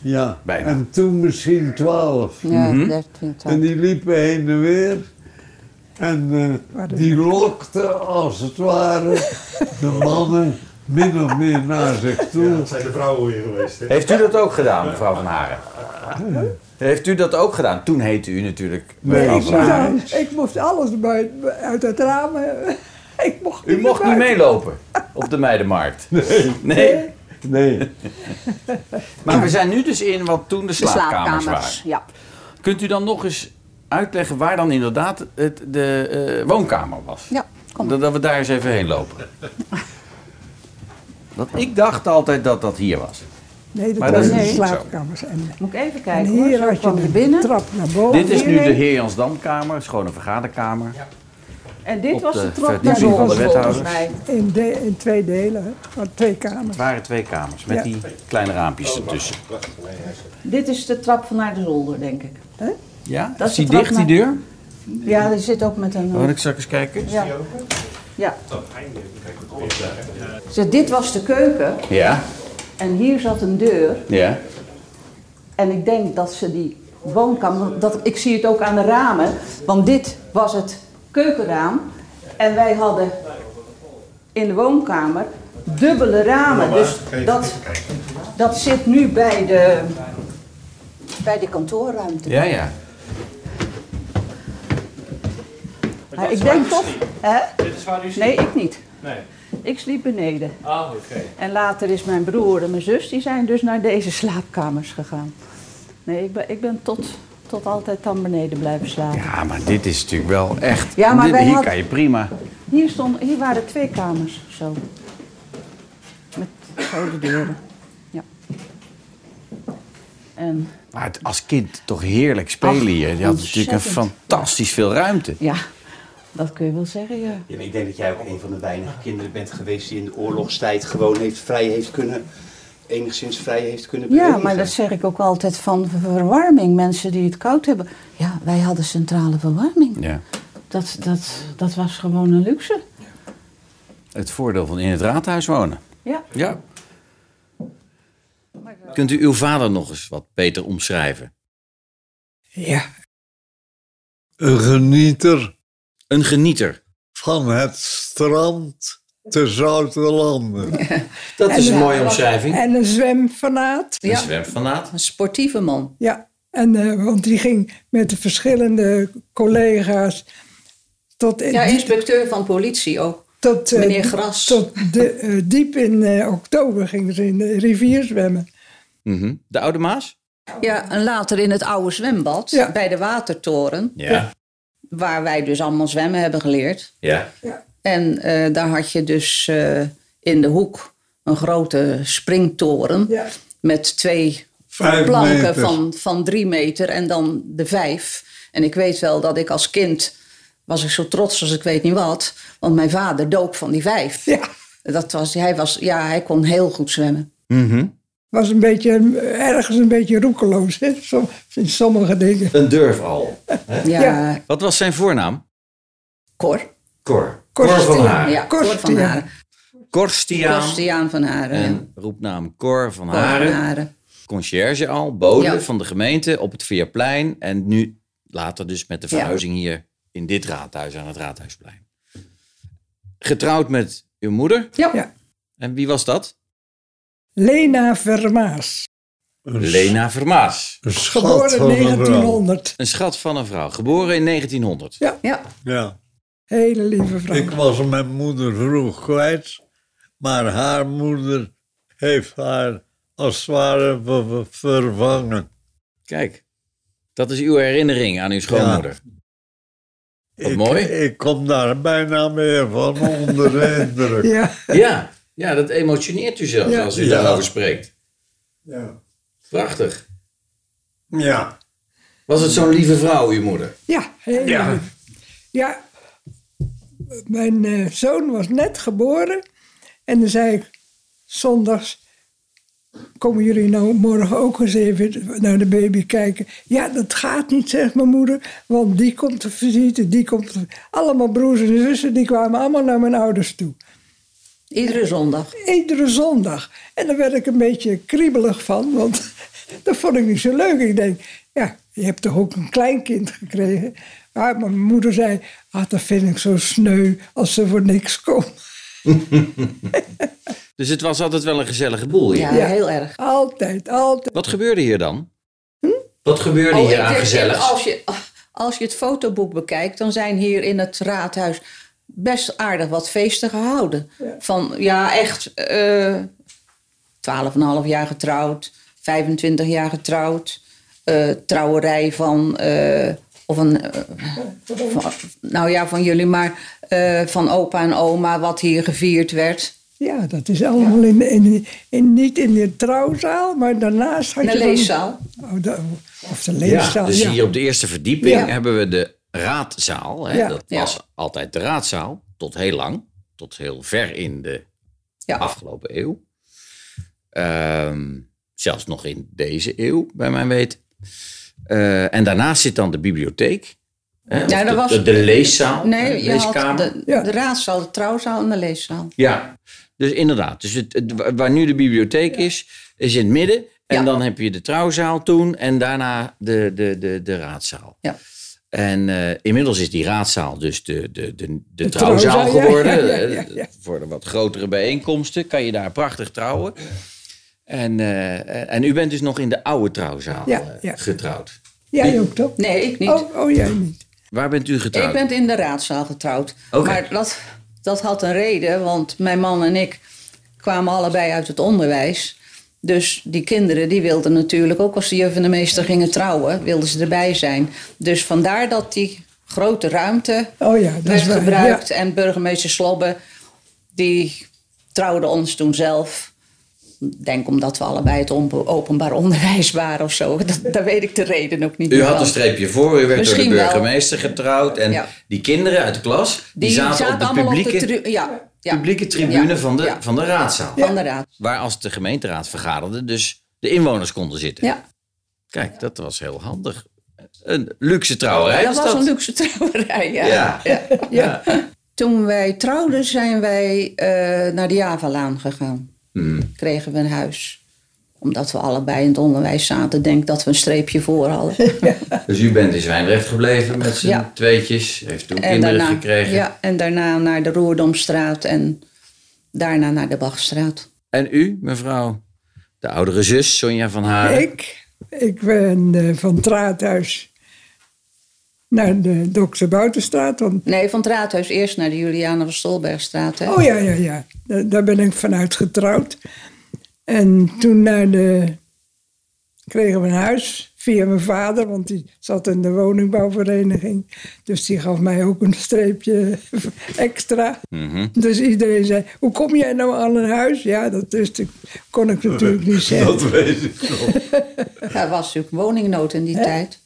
Ja,
Bijna.
Mhm.
en toen misschien twaalf.
Ja, 13, 12.
En die liepen heen en weer. En eh, die lokte als het ware de mannen min of meer naar zich toe.
Dat zijn de vrouwen weer geweest. Hè?
Heeft u dat ook gedaan, mevrouw Van Haren? Heeft u dat ook gedaan? Toen heette u natuurlijk mevrouw
ik,
Van
moest,
Haren.
al- ik moest alles bij- uit het raam. eh, <laughs> ik mocht
U mocht niet
naar buiten.
meelopen op de Meidenmarkt. Nee.
Nee,
Maar we zijn nu dus in wat toen de
De
slaapkamers,
slaapkamers.
waren.
Ja.
Kunt u dan nog eens uitleggen waar dan inderdaad het, de eh, woonkamer was?
ja, kom.
Dat, dat we daar eens even heen
<laughs>
lopen. Want ik dacht altijd dat dat hier was.
Nee,
Maar
dat
dat
was
is
de
niet zo.
slaapkamers. En,
Moet ik even
en
kijken hoor.
hier
Zo
had je
kwam je
een
binnen.
trap naar boven.
Dit is nu de
nee.
Heer Jansdamkamer, schone vergaderkamer.
En dit
op
was
de
de, trap naar
verdieping
van de
boven volgens
wethouders.
mij.
In, de, in twee delen, hè, van twee kamers.
Het waren twee kamers met
Ja.
die kleine raampjes ertussen.
Dit is de trap van naar de zolder, denk ik.
Ja?
Dat
is
is
die
de trap
dicht, die deur?
Ja, die zit ook met een... eh,
Wil ik straks eens kijken?
ja. ja. Dus dit was de keuken
Ja,
en hier zat een deur.
ja.
En ik denk dat ze die woonkamer, dat, ik zie het ook aan de ramen, want dit was het keukenraam. En wij hadden in de woonkamer dubbele ramen. Dus dat, dat zit nu bij de, bij de kantoorruimte.
Ja, ja.
Maar ik denk toch, hè?
Dit is waar u
Nee, ik niet.
Nee.
Ik sliep beneden.
Ah, oké.
En later is mijn broer en mijn zus, die zijn dus naar deze slaapkamers gegaan. Nee, ik ben, ik ben tot, tot altijd dan beneden blijven slapen.
Ja, maar dit is natuurlijk wel echt...
Ja, maar
dit-
wij
hier
hadden-
kan je prima...
Hier, stond, hier waren twee kamers, zo. Met zo de deuren. Ja. En
Maar het- als kind toch heerlijk spelen hier. Je had natuurlijk een
ontzettend.
fantastisch veel ruimte.
ja, dat kun je wel zeggen, ja.
Ja, maar ik denk dat jij ook een van de weinige kinderen bent geweest die in de oorlogstijd gewoon heeft, vrij heeft kunnen, enigszins vrij heeft kunnen bewegen.
Ja, maar dat zeg ik ook altijd van verwarming. Mensen die het koud hebben. Ja, wij hadden centrale verwarming.
Ja.
Dat, dat, dat was gewoon een luxe.
Het voordeel van in het raadhuis wonen.
Ja.
Ja. Kunt u uw vader nog eens wat beter omschrijven?
Ja,
een genieter
Een genieter.
van het strand te Zoute Landen.
Dat
is een mooie
omschrijving.
en een zwemfanaat.
Een
Ja.
zwemfanaat.
Een sportieve man.
Ja, en, eh, want die ging met de verschillende collega's tot, in-
Ja, inspecteur van politie ook.
tot, eh,
meneer Gras.
tot de, eh, diep in eh, oktober gingen ze in de rivier zwemmen.
Mhm. De Oude Maas?
Ja, en later in het oude zwembad
Ja.
bij de Watertoren,
Ja.
waar wij dus allemaal zwemmen hebben geleerd.
Ja.
En eh, daar had je dus eh, in de hoek een grote springtoren
Ja.
met twee
Vijf
planken
meters.
Van, van drie meter en dan de vijf. En ik weet wel dat ik als kind was ik zo trots als ik weet niet wat, want mijn vader dook van die vijf.
Ja,
Dat was, hij, was, ja, hij kon heel goed zwemmen.
Mhm.
was een beetje, ergens een beetje roekeloos hè? som- in sommige dingen.
Een durfal.
Ja,
Ja.
Wat was zijn voornaam?
Cor.
Cor.
Korstiaan.
Ja, Cor van
Korstiaan.
Haren.
Korstiaan.
Korstiaan van Haren. ja.
En roepnaam Cor van
Cor van
Haren.
Haren.
Concierge al, bode
Ja.
van de gemeente op het Veerplein. En nu later dus met de verhuizing hier in dit raadhuis aan het Raadhuisplein. Getrouwd met uw moeder.
Ja.
Ja.
En wie was dat?
Lena Vermaas,
Lena Vermaas.
Een schat
geboren
van een ramp.
1900.
Een schat van een vrouw. Geboren in 1900.
Ja.
Ja,
Hele lieve vrouw.
ik was mijn moeder vroeg kwijt, maar haar moeder heeft haar als het ware ver- ver- vervangen.
Kijk, dat is uw herinnering aan uw
<laughs>
schoonmoeder. Wat
ik,
mooi.
Ik kom daar bijna meer van onder de indruk.
Ja,
Ja, ja dat emotioneert u zelfs
Ja.
als u
Ja.
daarover spreekt.
Ja.
Prachtig.
ja.
Was het zo'n lieve vrouw, uw moeder?
ja, hele
Ja.
lief. Ja, mijn eh, zoon was net geboren. En dan zei ik, zondags komen jullie nou morgen ook eens even naar de baby kijken. Ja, dat gaat niet, zegt mijn moeder. Want die komt te visite, die komt... te- Allemaal broers en zussen, die kwamen allemaal naar mijn ouders toe.
Iedere zondag.
Iedere zondag. <laughs> En daar werd ik een beetje kriebelig van, want dat vond ik niet zo leuk. Ik denk, ja, je hebt toch ook een kleinkind gekregen? Maar mijn moeder zei, ah, dat vind ik zo sneu als ze voor niks komen.
Dus het was altijd wel een gezellige boel hier.
Ja,
Ja.
heel erg.
Altijd, altijd.
Wat gebeurde hier dan? Wat gebeurde hier aan
Oh, ik- ik-
gezelligs?
Als je, als je het fotoboek bekijkt, dan zijn hier in het raadhuis best aardig wat feesten gehouden. Van ja, echt eh 12,5 jaar getrouwd, 25 jaar getrouwd, eh, trouwerij van. eh, of een, eh, van- nou ja, van jullie, maar eh, van opa en oma, wat hier gevierd werd.
Ja, dat is allemaal in, in, in- niet in de trouwzaal, maar daarnaast had
De
je dan-
leeszaal.
Oh, de- of de leeszaal,
dus
ja.
hier op de eerste verdieping
Ja.
hebben we de raadzaal. Hè?
Ja.
Dat
Ja.
was altijd de raadzaal, tot heel lang. Tot heel ver in de
Ja.
afgelopen eeuw. Ehm, zelfs nog in deze eeuw, bij mijn weet. Eh, en daarnaast zit dan de bibliotheek. Hè? Of
Ja,
de,
dat was-
de, de leeszaal. hè,
Nee,
de
je had
leeskamer.
de,
Ja.
de raadzaal, de trouwzaal en de leeszaal.
Ja, dus inderdaad. Dus het, het- wa- waar nu de bibliotheek is, is in het midden. En
Ja.
dan heb je de trouwzaal toen en daarna de, de, de, de raadzaal.
Ja.
En eh, inmiddels is die raadzaal dus de, de, de, de, trouwzaal
trouwzaal, ja,
geworden.
ja, ja, ja, ja.
Eh, Voor de wat grotere bijeenkomsten kan je daar prachtig trouwen. En, eh, en u bent dus nog in de oude trouwzaal
Ja,
eh,
ja.
getrouwd.
Jij ook toch?
Nee, ik niet.
Oh, oh, jij niet.
Waar bent u getrouwd?
Ik ben in de raadzaal getrouwd.
Oké.
Maar dat, dat had een reden, want mijn man en ik kwamen allebei uit het onderwijs. Dus die kinderen die wilden natuurlijk ook als de juf en de meester gingen trouwen, wilden ze erbij zijn. Dus vandaar dat die grote ruimte
Oh ja, dat
werd
is waar.
gebruikt. En burgemeester Slobbe, die trouwde ons toen zelf. Ik denk omdat we allebei het onbe- openbaar onderwijs waren of zo. <laughs> Dat, daar weet ik de reden ook niet
U
meer
had dus
van.
een streepje voor, u werd
Misschien
door de
wel.
burgemeester getrouwd. En
Ja.
die kinderen uit de klas, die, zaten, op de publieke,
tru- ja, ja.
publieke tribune
Ja,
van, de,
ja.
van de raadzaal.
Van de raad.
Waar als de gemeenteraad vergaderde, dus de inwoners konden zitten.
Ja, Oh,
Kijk, dat was heel handig. Een luxe trouwerij
dat
was
was
dat.
een luxe <laughs> trouwerij. Ja.
Ja.
Ja. Toen wij trouwden zijn wij eh, naar de Javalaan gegaan.
Hmm.
Kregen we een huis. Omdat we allebei in het onderwijs zaten, denk ik dat we een streepje voor
<laughs>
hadden.
Dus u bent in Zwijndrecht gebleven met z'n
Ja.
tweetjes. Heeft toen kinderen gekregen.
ja, en daarna naar de Roerdomstraat en daarna naar de Bachstraat.
En u, mevrouw, de oudere zus Sonja van Haren.
Ik, ik ben eh, van het raadhuis naar de dokter Boutenstraat. Want,
Nee, van het raadhuis eerst naar de Juliana van Stolbergstraat. Hè?
oh ja, ja, ja. Da- Daar ben ik vanuit getrouwd. En toen naar de, kregen we een huis via mijn vader, want die zat in de woningbouwvereniging. Dus die gaf mij ook een streepje <laughs> extra. Dus iedereen zei, hoe kom jij nou aan een huis? Ja, dat wist ik, kon ik natuurlijk niet zeggen.
Dat weet ik nog.
Ja, er was natuurlijk woningnood in die tijd.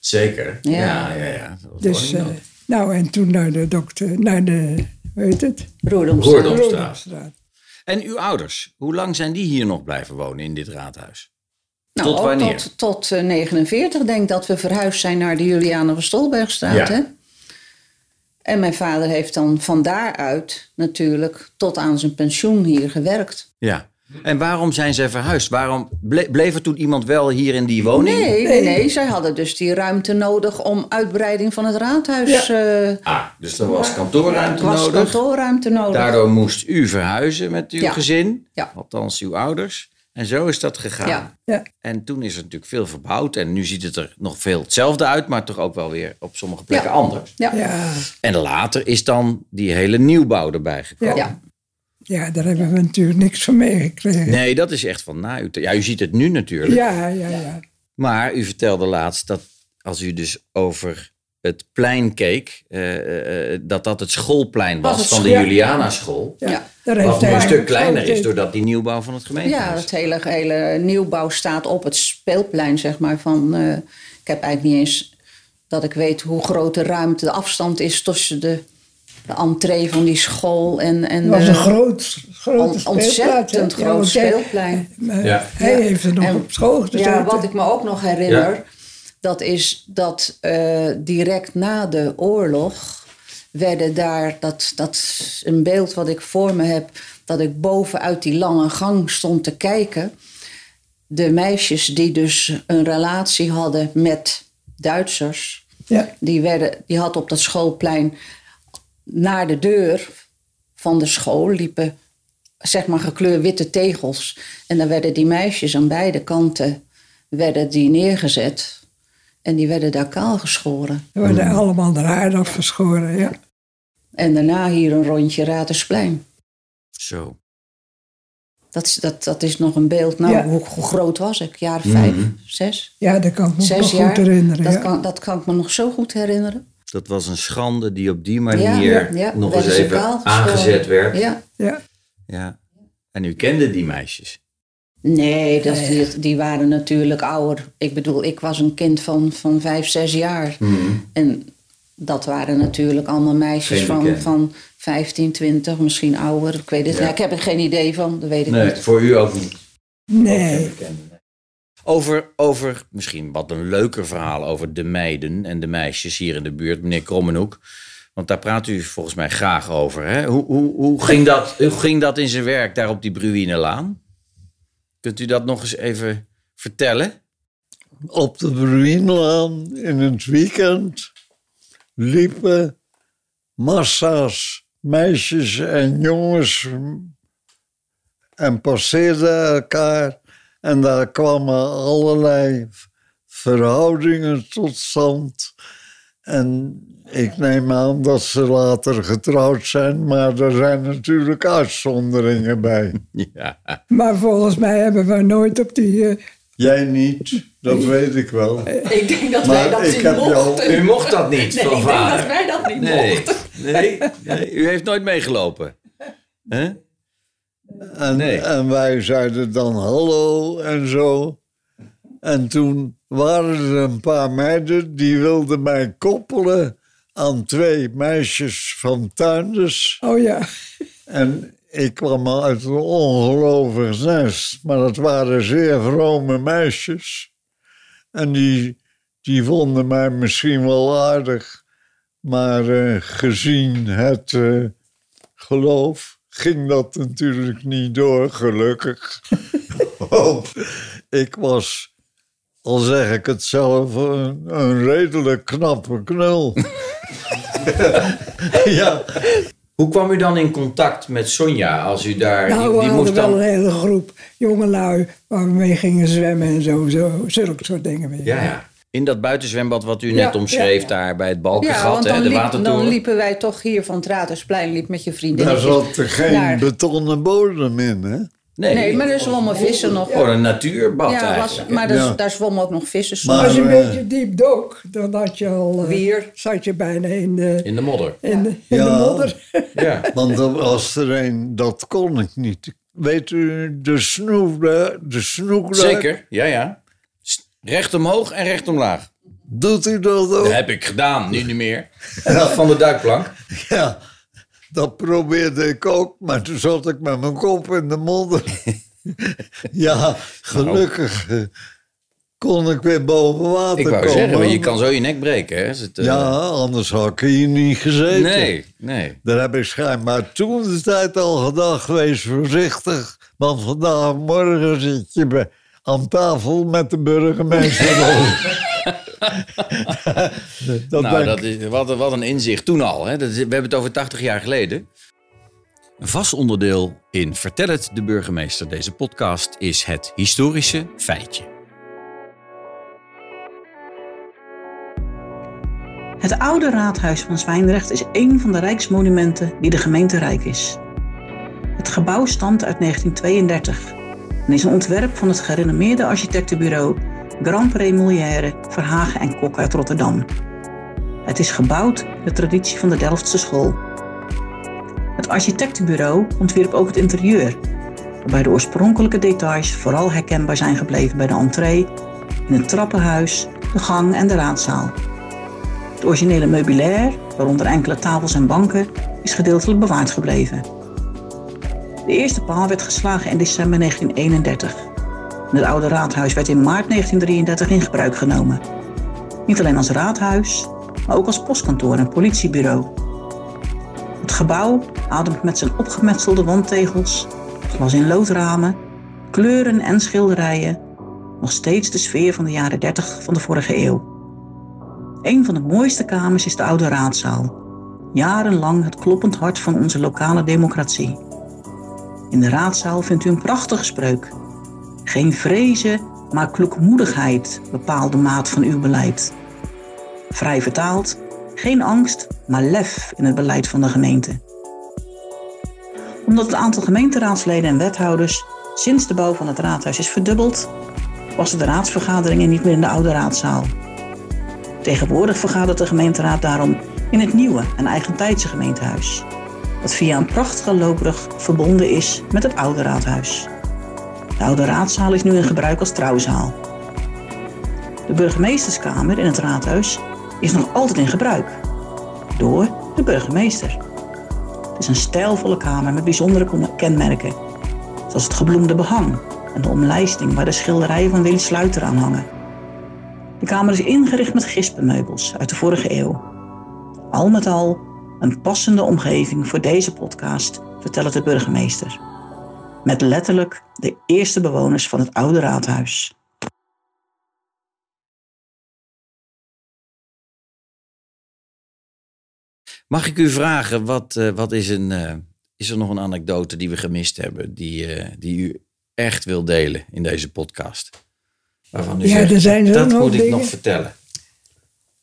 Zeker. Ja,
Ja.
ja, ja. Dat was
Dus,
wel-
eh, nou, en toen naar de dokter, naar de, hoe heet het?
Roerdomstraat.
Roerdom. Roerdomstraat.
Roerdomstraat.
En uw ouders, hoe lang zijn die hier nog blijven wonen in dit raadhuis?
Nou,
Tot
ook
wanneer?
Tot, tot eh, 49 denk ik dat we verhuisd zijn naar de Juliana van Stolbergstraat.
Ja.
Hè? En mijn vader heeft dan van daaruit natuurlijk tot aan zijn pensioen hier gewerkt.
Ja. En waarom zijn zij verhuisd? Waarom ble- bleef er toen iemand wel hier in die woning?
Nee, nee, nee, zij hadden dus die ruimte nodig om uitbreiding van het raadhuis. eh
Ah, dus er was kantoorruimte
was
nodig.
kantoorruimte nodig.
Daardoor moest u verhuizen met uw
Ja.
gezin,
Ja.
althans uw ouders. En zo is dat gegaan.
Ja.
Ja.
En toen is er natuurlijk veel verbouwd. En nu ziet het er nog veel hetzelfde uit, maar toch ook wel weer op sommige plekken
Ja.
anders.
Ja. Ja.
Ja,
En later is dan die hele nieuwbouw erbij gekomen.
Ja.
ja, daar hebben we natuurlijk niks van meegekregen.
Nee, dat is echt van na u. Ja, u ziet het nu natuurlijk.
Ja, ja, ja.
Maar u vertelde laatst dat als u dus over het plein keek, eh, eh, eh, dat dat het schoolplein was,
Was het
van de
school-
Juliana school.
ja.
Ja.
Daar
Wat nu een
hij-
stuk kleiner is
Ja.
doordat die nieuwbouw van het gemeentehuis.
het hele, hele nieuwbouw staat op het speelplein, zeg maar. Van, eh, ik heb eigenlijk niet eens dat ik weet hoe groot de ruimte, de afstand is tussen de, de entree van die school en... en
Het was
eh,
een groot, grote
On- ontzettend
speelplaats, hè? Ja,
groot
want hij-
speelplein.
eh,
Ja.
Hij heeft er nog
En-
op school gezeten.
Ja, wat ik me ook nog herinner,
Ja.
dat is dat eh, direct na de oorlog werden daar, dat, dat is een beeld wat ik voor me heb, dat ik boven uit die lange gang stond te kijken. De meisjes die dus een relatie hadden met Duitsers.
Ja.
Die, werden, die had op dat schoolplein naar de deur van de school liepen zeg maar gekleurd witte tegels. En dan werden die meisjes aan beide kanten werden die neergezet. En die werden daar kaal geschoren.
We werden allemaal de haar afgeschoren, ja.
En daarna hier een rondje Ratersplein.
Zo.
Dat is, dat, dat is nog een beeld. Nou,
Ja.
hoe, hoe groot was ik? Jaar vijf,
Mhm.
zes,
Ja, dat kan ik me nog
zes
goed
jaar.
herinneren.
dat,
ja.
kan, dat kan ik me nog zo goed herinneren.
Dat was een schande die op die
Ja,
manier
ja, ja.
nog eens
Werden ze
even
kaal geschoren.
aangezet werd.
Ja.
ja.
Ja. En u kende die meisjes.
Nee, dat, Die, die waren natuurlijk ouder. Ik bedoel, ik was een kind van, van vijf, zes jaar.
Mhm.
En dat waren natuurlijk allemaal meisjes
Geen
van,
bekende.
van 15, 20, misschien ouder. Ik weet het
Ja.
niet. Ik heb er geen idee van, dat weet ik
Nee,
niet. <laughs>
voor u ook niet.
Nee,
Over, over misschien wat een leuker verhaal over de meiden en de meisjes hier in de buurt, meneer Krommenhoek. Want daar praat u volgens mij graag over. Hè? Hoe, hoe, hoe, ging dat, hoe ging dat in zijn werk daar op die Bruinelaan? Kunt u dat nog eens even vertellen?
op de Bruinlaan in het weekend liepen massa's meisjes en jongens en passeerden elkaar. En daar kwamen allerlei verhoudingen tot stand. En ik neem aan dat ze later getrouwd zijn, maar er zijn natuurlijk uitzonderingen bij.
Ja.
maar volgens mij hebben we nooit op die... eh,
Jij niet, dat weet ik wel.
Ik denk dat
Maar ik heb jou
U mocht dat niet van vader.
wij dat niet
Nee. Nee. nee, u heeft nooit meegelopen. Hè?
En,
Nee.
en wij zeiden dan hallo en zo. En toen waren er een paar meiden die wilden mij koppelen aan twee meisjes van tuinders.
Oh ja,
En ik kwam uit een ongelovig nest, maar dat waren zeer vrome meisjes. En die, die vonden mij misschien wel aardig, maar eh, gezien het eh, geloof ging dat natuurlijk niet door, gelukkig. <laughs> Want ik was, al zeg ik het zelf, een, een redelijk knappe knul. <laughs> ja.
Hoe kwam u dan in contact met Sonja als u daar... die-
nou, we
die
hadden
moest dan...
wel een hele groep jongelui waar we mee gingen zwemmen en zo, zo zulke soort dingen meer.
Ja, ja. In dat buitenzwembad wat u net
ja,
omschreef,
ja.
daar bij het
Ja,
Balkengat,
want
hè,
dan,
de
liep,
watertoren.
dan liepen wij toch hier van het Ratersplein liep met je
Daar
vriendinnetjes.
zat er geen
Daar.
betonnen bodem in, hè?
Nee,
Nee, maar er zwommen vissen nog.
Oh, een natuurbad
Ja, was-
eigenlijk.
maar er-
Ja.
daar zwommen ook nog vissen.
Maar-
Als je een
eh,
beetje diep dook, dan had je al, eh,
Weer.
zat je bijna in de,
In de modder.
in de, in
Ja.
de modder.
Ja.
Want er was er een, dat kon ik niet. Weet u, de snoepduik, de snoepduik
Zeker, ja, ja. S- Recht omhoog en recht
Oh.
omlaag.
doet u dat ook?
Dat heb ik gedaan, nu niet meer. <laughs> Van de duikplank.
Ja, dat probeerde ik ook, maar toen zat ik met mijn kop in de
<laughs>
modder.
Nou.
ja, gelukkig eh, kon ik weer boven water
Ik wou
komen.
zeggen, maar je kan zo je nek breken. Hè? Is het, eh,
Ja, anders had ik hier niet gezeten.
Nee, nee.
Daar heb ik schijnbaar toen de tijd al gedacht, wees voorzichtig. Want vandaag en morgen zit je bij, aan tafel met de
<laughs>
burgemeester. dat
nou,
denk
dat
ik.
is, wat, een- wat een inzicht toen al. Hè? Dat is- we hebben het over 80 jaar geleden. Een vast onderdeel in Vertel het de burgemeester, deze podcast, is het historische feitje.
Het oude raadhuis van Zwijndrecht is een van de rijksmonumenten die de gemeente rijk is. Het gebouw stamt uit 1932 en is een ontwerp van het gerenommeerde architectenbureau Grand Pré-Molière, Verhagen en Kok uit Rotterdam. Het is gebouwd in de traditie van de Delftse school. Het architectenbureau ontwierp ook het interieur, waarbij de oorspronkelijke details vooral herkenbaar zijn gebleven bij de entree, in het trappenhuis, de gang en de raadzaal. Het originele meubilair, waaronder enkele tafels en banken, is gedeeltelijk bewaard gebleven. De eerste paal werd geslagen in december 1931. En het oude raadhuis werd in maart 1933 in gebruik genomen. Niet alleen als raadhuis, maar ook als postkantoor en politiebureau. Het gebouw ademt met zijn opgemetselde wandtegels, glas in loodramen, kleuren en schilderijen nog steeds de sfeer van de jaren 30 van de vorige eeuw. Een van de mooiste kamers is de Oude Raadzaal. Jarenlang het kloppend hart van onze lokale democratie. In de raadzaal vindt u een prachtige spreuk. Geen vrezen, maar kloekmoedigheid bepaalt de maat van uw beleid. Vrij vertaald, geen angst, maar lef in het beleid van de gemeente. Omdat het aantal gemeenteraadsleden en wethouders sinds de bouw van het raadhuis is verdubbeld, passen de raadsvergaderingen niet meer in de oude raadzaal. Tegenwoordig vergadert de gemeenteraad daarom in het nieuwe en eigentijdse gemeentehuis, dat via een prachtige loopbrug verbonden is met het oude raadhuis. De oude raadzaal is nu in gebruik als trouwzaal. De burgemeesterskamer in het raadhuis is nog altijd in gebruik door de burgemeester. Het is een stijlvolle kamer met bijzondere kenmerken, zoals het gebloemde behang en de omlijsting waar de schilderijen van Willy Sluiter aan hangen. De kamer is ingericht met gispenmeubels uit de vorige eeuw. Al met al een passende omgeving voor deze podcast, vertelt de burgemeester. Met letterlijk de eerste bewoners van het oude raadhuis.
Mag ik u vragen, wat, eh, wat is, een, eh, is er nog een anekdote die we gemist hebben, die, eh, die u echt wil delen in deze podcast? Waarvan u
Ja,
zegt,
er zijn zo'n
dat
hoop
moet ik
dingen.
nog vertellen.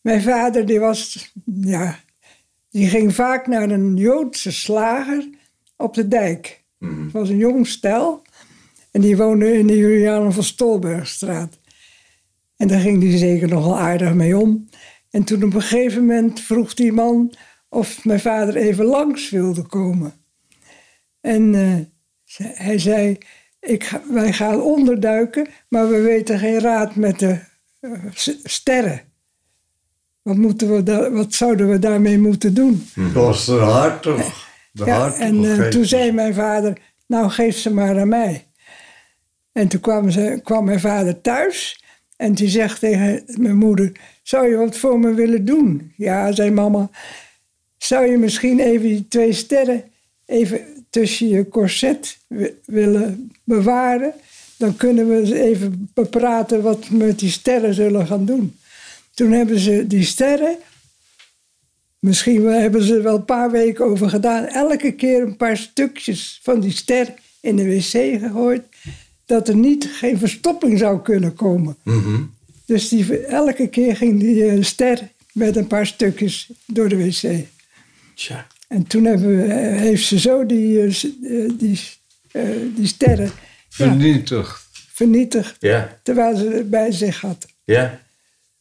Mijn vader, die was, ja, die ging vaak naar een Joodse slager op de dijk. Het was een jong stel en die woonde in de Julianen van Stolbergstraat. En daar ging hij zeker nogal aardig mee om. En toen op een gegeven moment vroeg die man of mijn vader even langs wilde komen. En eh, ze- hij zei, ik ga- wij gaan onderduiken, maar we weten geen raad met de eh, s- sterren. Wat, moeten we daar- wat zouden we daarmee moeten doen?
Dat was de hart toch? De
Ja,
hart
en eh, toen zei mijn vader, nou geef ze maar aan mij. En toen kwam, ze, kwam mijn vader thuis en die zegt tegen mijn moeder, zou je wat voor me willen doen? Ja, zei mama, zou je misschien even die twee sterren even tussen je corset wi- willen bewaren? Dan kunnen we eens even bepraten wat we met die sterren zullen gaan doen. Toen hebben ze die sterren Misschien wel- hebben ze er wel een paar weken over gedaan. Elke keer een paar stukjes van die ster in de wc gegooid. Dat er niet geen verstopping zou kunnen komen. Dus die, elke keer ging die eh, ster met een paar stukjes door de wc.
Tja.
En toen hebben we, eh, heeft ze zo die, eh, s- eh, die, eh, die sterren ja,
Vernietigd.
vernietigd.
Ja,
Terwijl ze het bij zich had.
ja,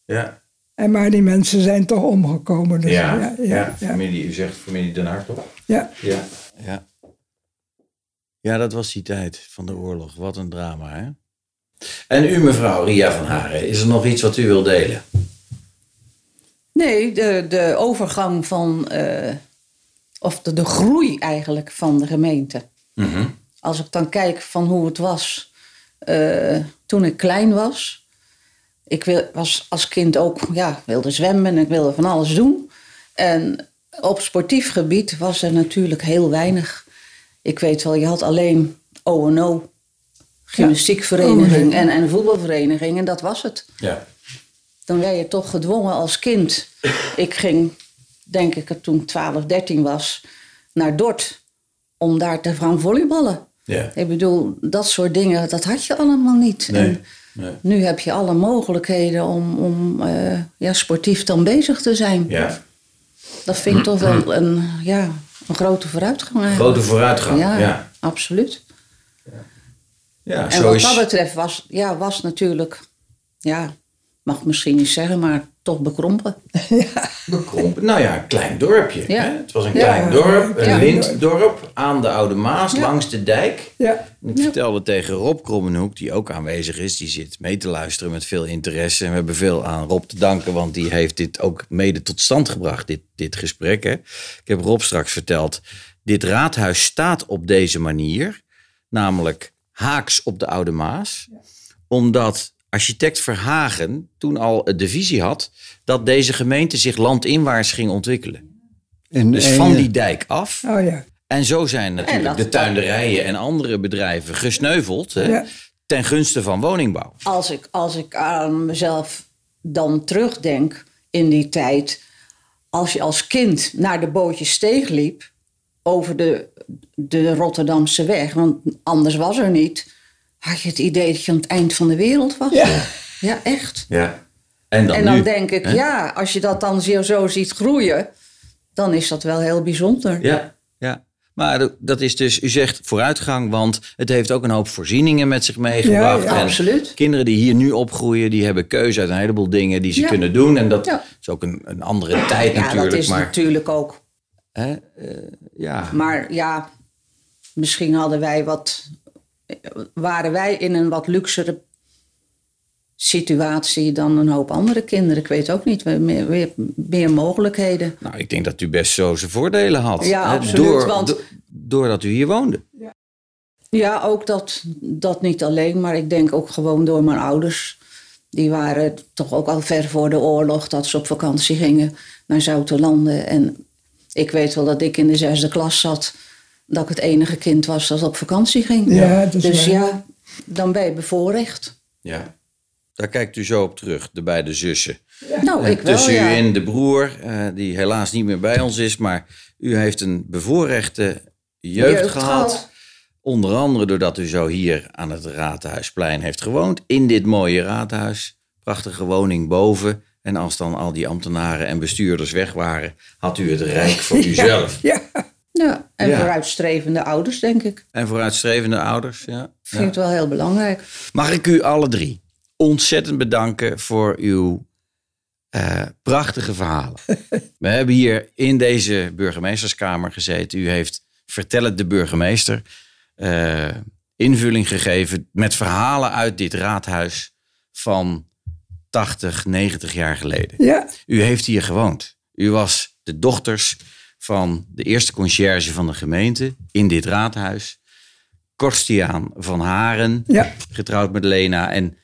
ja.
En maar die mensen zijn toch omgekomen. Dus
Ja,
ja,
ja,
ja, ja,
Familie, u zegt familie Den Haag toch?
ja.
Ja. ja. Ja, dat was die tijd van de oorlog. Wat een drama, hè? En u, mevrouw Ria van Haren, is er nog iets wat u wil delen?
Nee, de, de overgang van, eh, of de, de groei eigenlijk van de gemeente. Als ik dan kijk van hoe het was eh, toen ik klein was. Ik wil, was als kind ook, ja, wilde zwemmen en ik wilde van alles doen. En op sportief gebied was er natuurlijk heel weinig. Ik weet wel, je had alleen O&O, gymnastiekvereniging en, en voetbalvereniging en dat was het
Ja.
dan werd je toch gedwongen als kind. Ik ging, denk ik, het toen 12, 13 was, naar Dort om daar te gaan volleyballen.
Ja.
Ik bedoel, dat soort dingen, dat had je allemaal niet.
Nee.
En
nee.
nu heb je alle mogelijkheden om, om eh, ja, sportief dan bezig te zijn.
Ja. Mm-hmm.
Dat vind ik toch wel een, ja, een grote vooruitgang eigenlijk.
Grote vooruitgang. Ja.
ja,
ja.
absoluut. En
zo
wat
is.
dat betreft was, ja, was natuurlijk, ja, mag ik misschien niet zeggen, maar toch bekrompen.
Bekrompen. Nou ja, een klein dorpje.
Ja.
Hè? Het was een
Ja.
klein dorp, een
Ja.
winddorp aan de Oude Maas, langs de dijk.
ja.
En Ik vertelde tegen Rob Krommenhoek, die ook aanwezig is, die zit mee te luisteren met veel interesse. En we hebben veel aan Rob te danken, want die heeft dit ook mede tot stand gebracht, dit, dit gesprek. Hè. Ik heb Rob straks verteld, dit raadhuis staat op deze manier, namelijk haaks op de Oude Maas. Omdat architect Verhagen toen al de visie had dat deze gemeente zich landinwaarts ging ontwikkelen.
In
Dus van die dijk af.
Oh ja.
En zo zijn natuurlijk
En dat-
de tuinderijen en andere bedrijven gesneuveld hè,
Ja.
ten gunste van woningbouw.
als ik, als ik aan mezelf dan terugdenk, in die tijd, als je als kind naar de bootjessteeg liep, over de, de Rotterdamse weg, want anders was er niet, had je het idee dat je aan het eind van de wereld was.
Ja.
Ja, echt.
Ja.
En dan,
en dan
nu,
denk ik,
hè?
ja, als je dat dan zo, zo ziet groeien, dan is dat wel heel bijzonder.
Ja.
Ja, maar dat is dus, u zegt vooruitgang, want het heeft ook een hoop voorzieningen met zich meegebracht.
Ja, ja,
En
absoluut.
Kinderen die hier nu opgroeien, die hebben keuze uit een heleboel dingen die ze
Ja.
kunnen doen. En dat
Ja.
is ook een, een andere tijd
Ja,
natuurlijk.
dat is
maar,
natuurlijk ook.
hè, eh, ja.
Maar ja, misschien hadden wij wat, waren wij in een wat luxere situatie dan een hoop andere kinderen. Ik weet ook niet, we hebben meer, weer meer mogelijkheden.
Nou, ik denk dat u best zo zijn voordelen had.
Ja,
hè,
absoluut,
Door,
want-
do- doordat u hier woonde.
Ja, ook dat, dat niet alleen, maar ik denk ook gewoon door mijn ouders. Die waren toch ook al ver voor de oorlog dat ze op vakantie gingen naar Zoutelanden. En ik weet wel dat ik in de zesde klas zat, dat ik het enige kind was dat op vakantie ging.
Ja, dat is
dus
waar.
ja, dan ben je bevoorrecht.
Ja.
Daar kijkt u zo op terug, de beide zussen.
Nou,
En
ik wel,
Eh, tussen
ja.
u en de broer, eh, die helaas niet meer bij ons is, maar u heeft een bevoorrechte jeugd,
Jeugd
gehad.
gehad.
Onder andere doordat u zo hier aan het Raadhuisplein heeft gewoond. In dit mooie raadhuis. Prachtige woning boven. En als dan al die ambtenaren en bestuurders weg waren, had u het rijk
<laughs>
voor uzelf.
Ja,
Ja, en
Ja.
vooruitstrevende ouders, denk ik.
En vooruitstrevende ouders. Ja.
Ik vind het wel heel belangrijk.
Mag ik u alle drie ontzettend bedanken voor uw eh, prachtige verhalen. We hebben hier in deze burgemeesterskamer gezeten. U heeft Vertel het de burgemeester eh, invulling gegeven met verhalen uit dit raadhuis van 80, 90 jaar geleden.
ja,
U heeft hier gewoond. U was de dochters van de eerste conciërge van de gemeente in dit raadhuis. Korstiaan van Haren,
ja.
getrouwd met Lena. En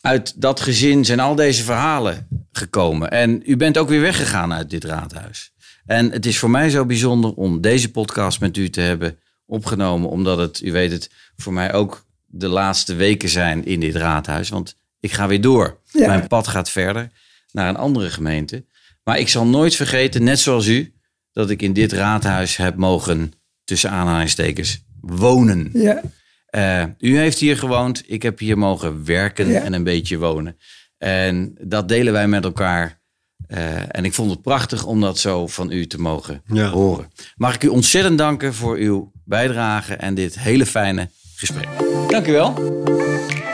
uit dat gezin zijn al deze verhalen gekomen. En u bent ook weer weggegaan uit dit raadhuis. En het is voor mij zo bijzonder om deze podcast met u te hebben opgenomen. Omdat het, u weet het, voor mij ook de laatste weken zijn in dit raadhuis. Want ik ga weer door.
Ja.
Mijn pad gaat verder naar een andere gemeente. Maar ik zal nooit vergeten, net zoals u, dat ik in dit raadhuis heb mogen, tussen aanhalingstekens, wonen.
ja.
Eh, u heeft hier gewoond, ik heb hier mogen werken
Ja.
en een beetje wonen. En dat delen wij met elkaar. Eh, en ik vond het prachtig om dat zo van u te mogen
Ja.
horen. Mag ik u ontzettend danken voor uw bijdrage en dit hele fijne gesprek. Dank u wel.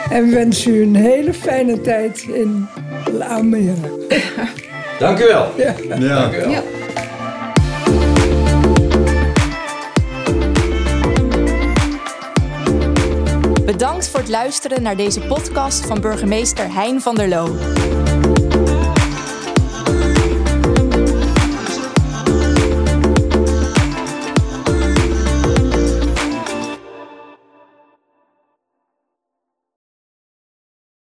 En wens u een hele fijne tijd in La Almere.
Dank u wel.
Ja.
Ja.
Bedankt voor het luisteren naar deze podcast van burgemeester Hein van der Loo.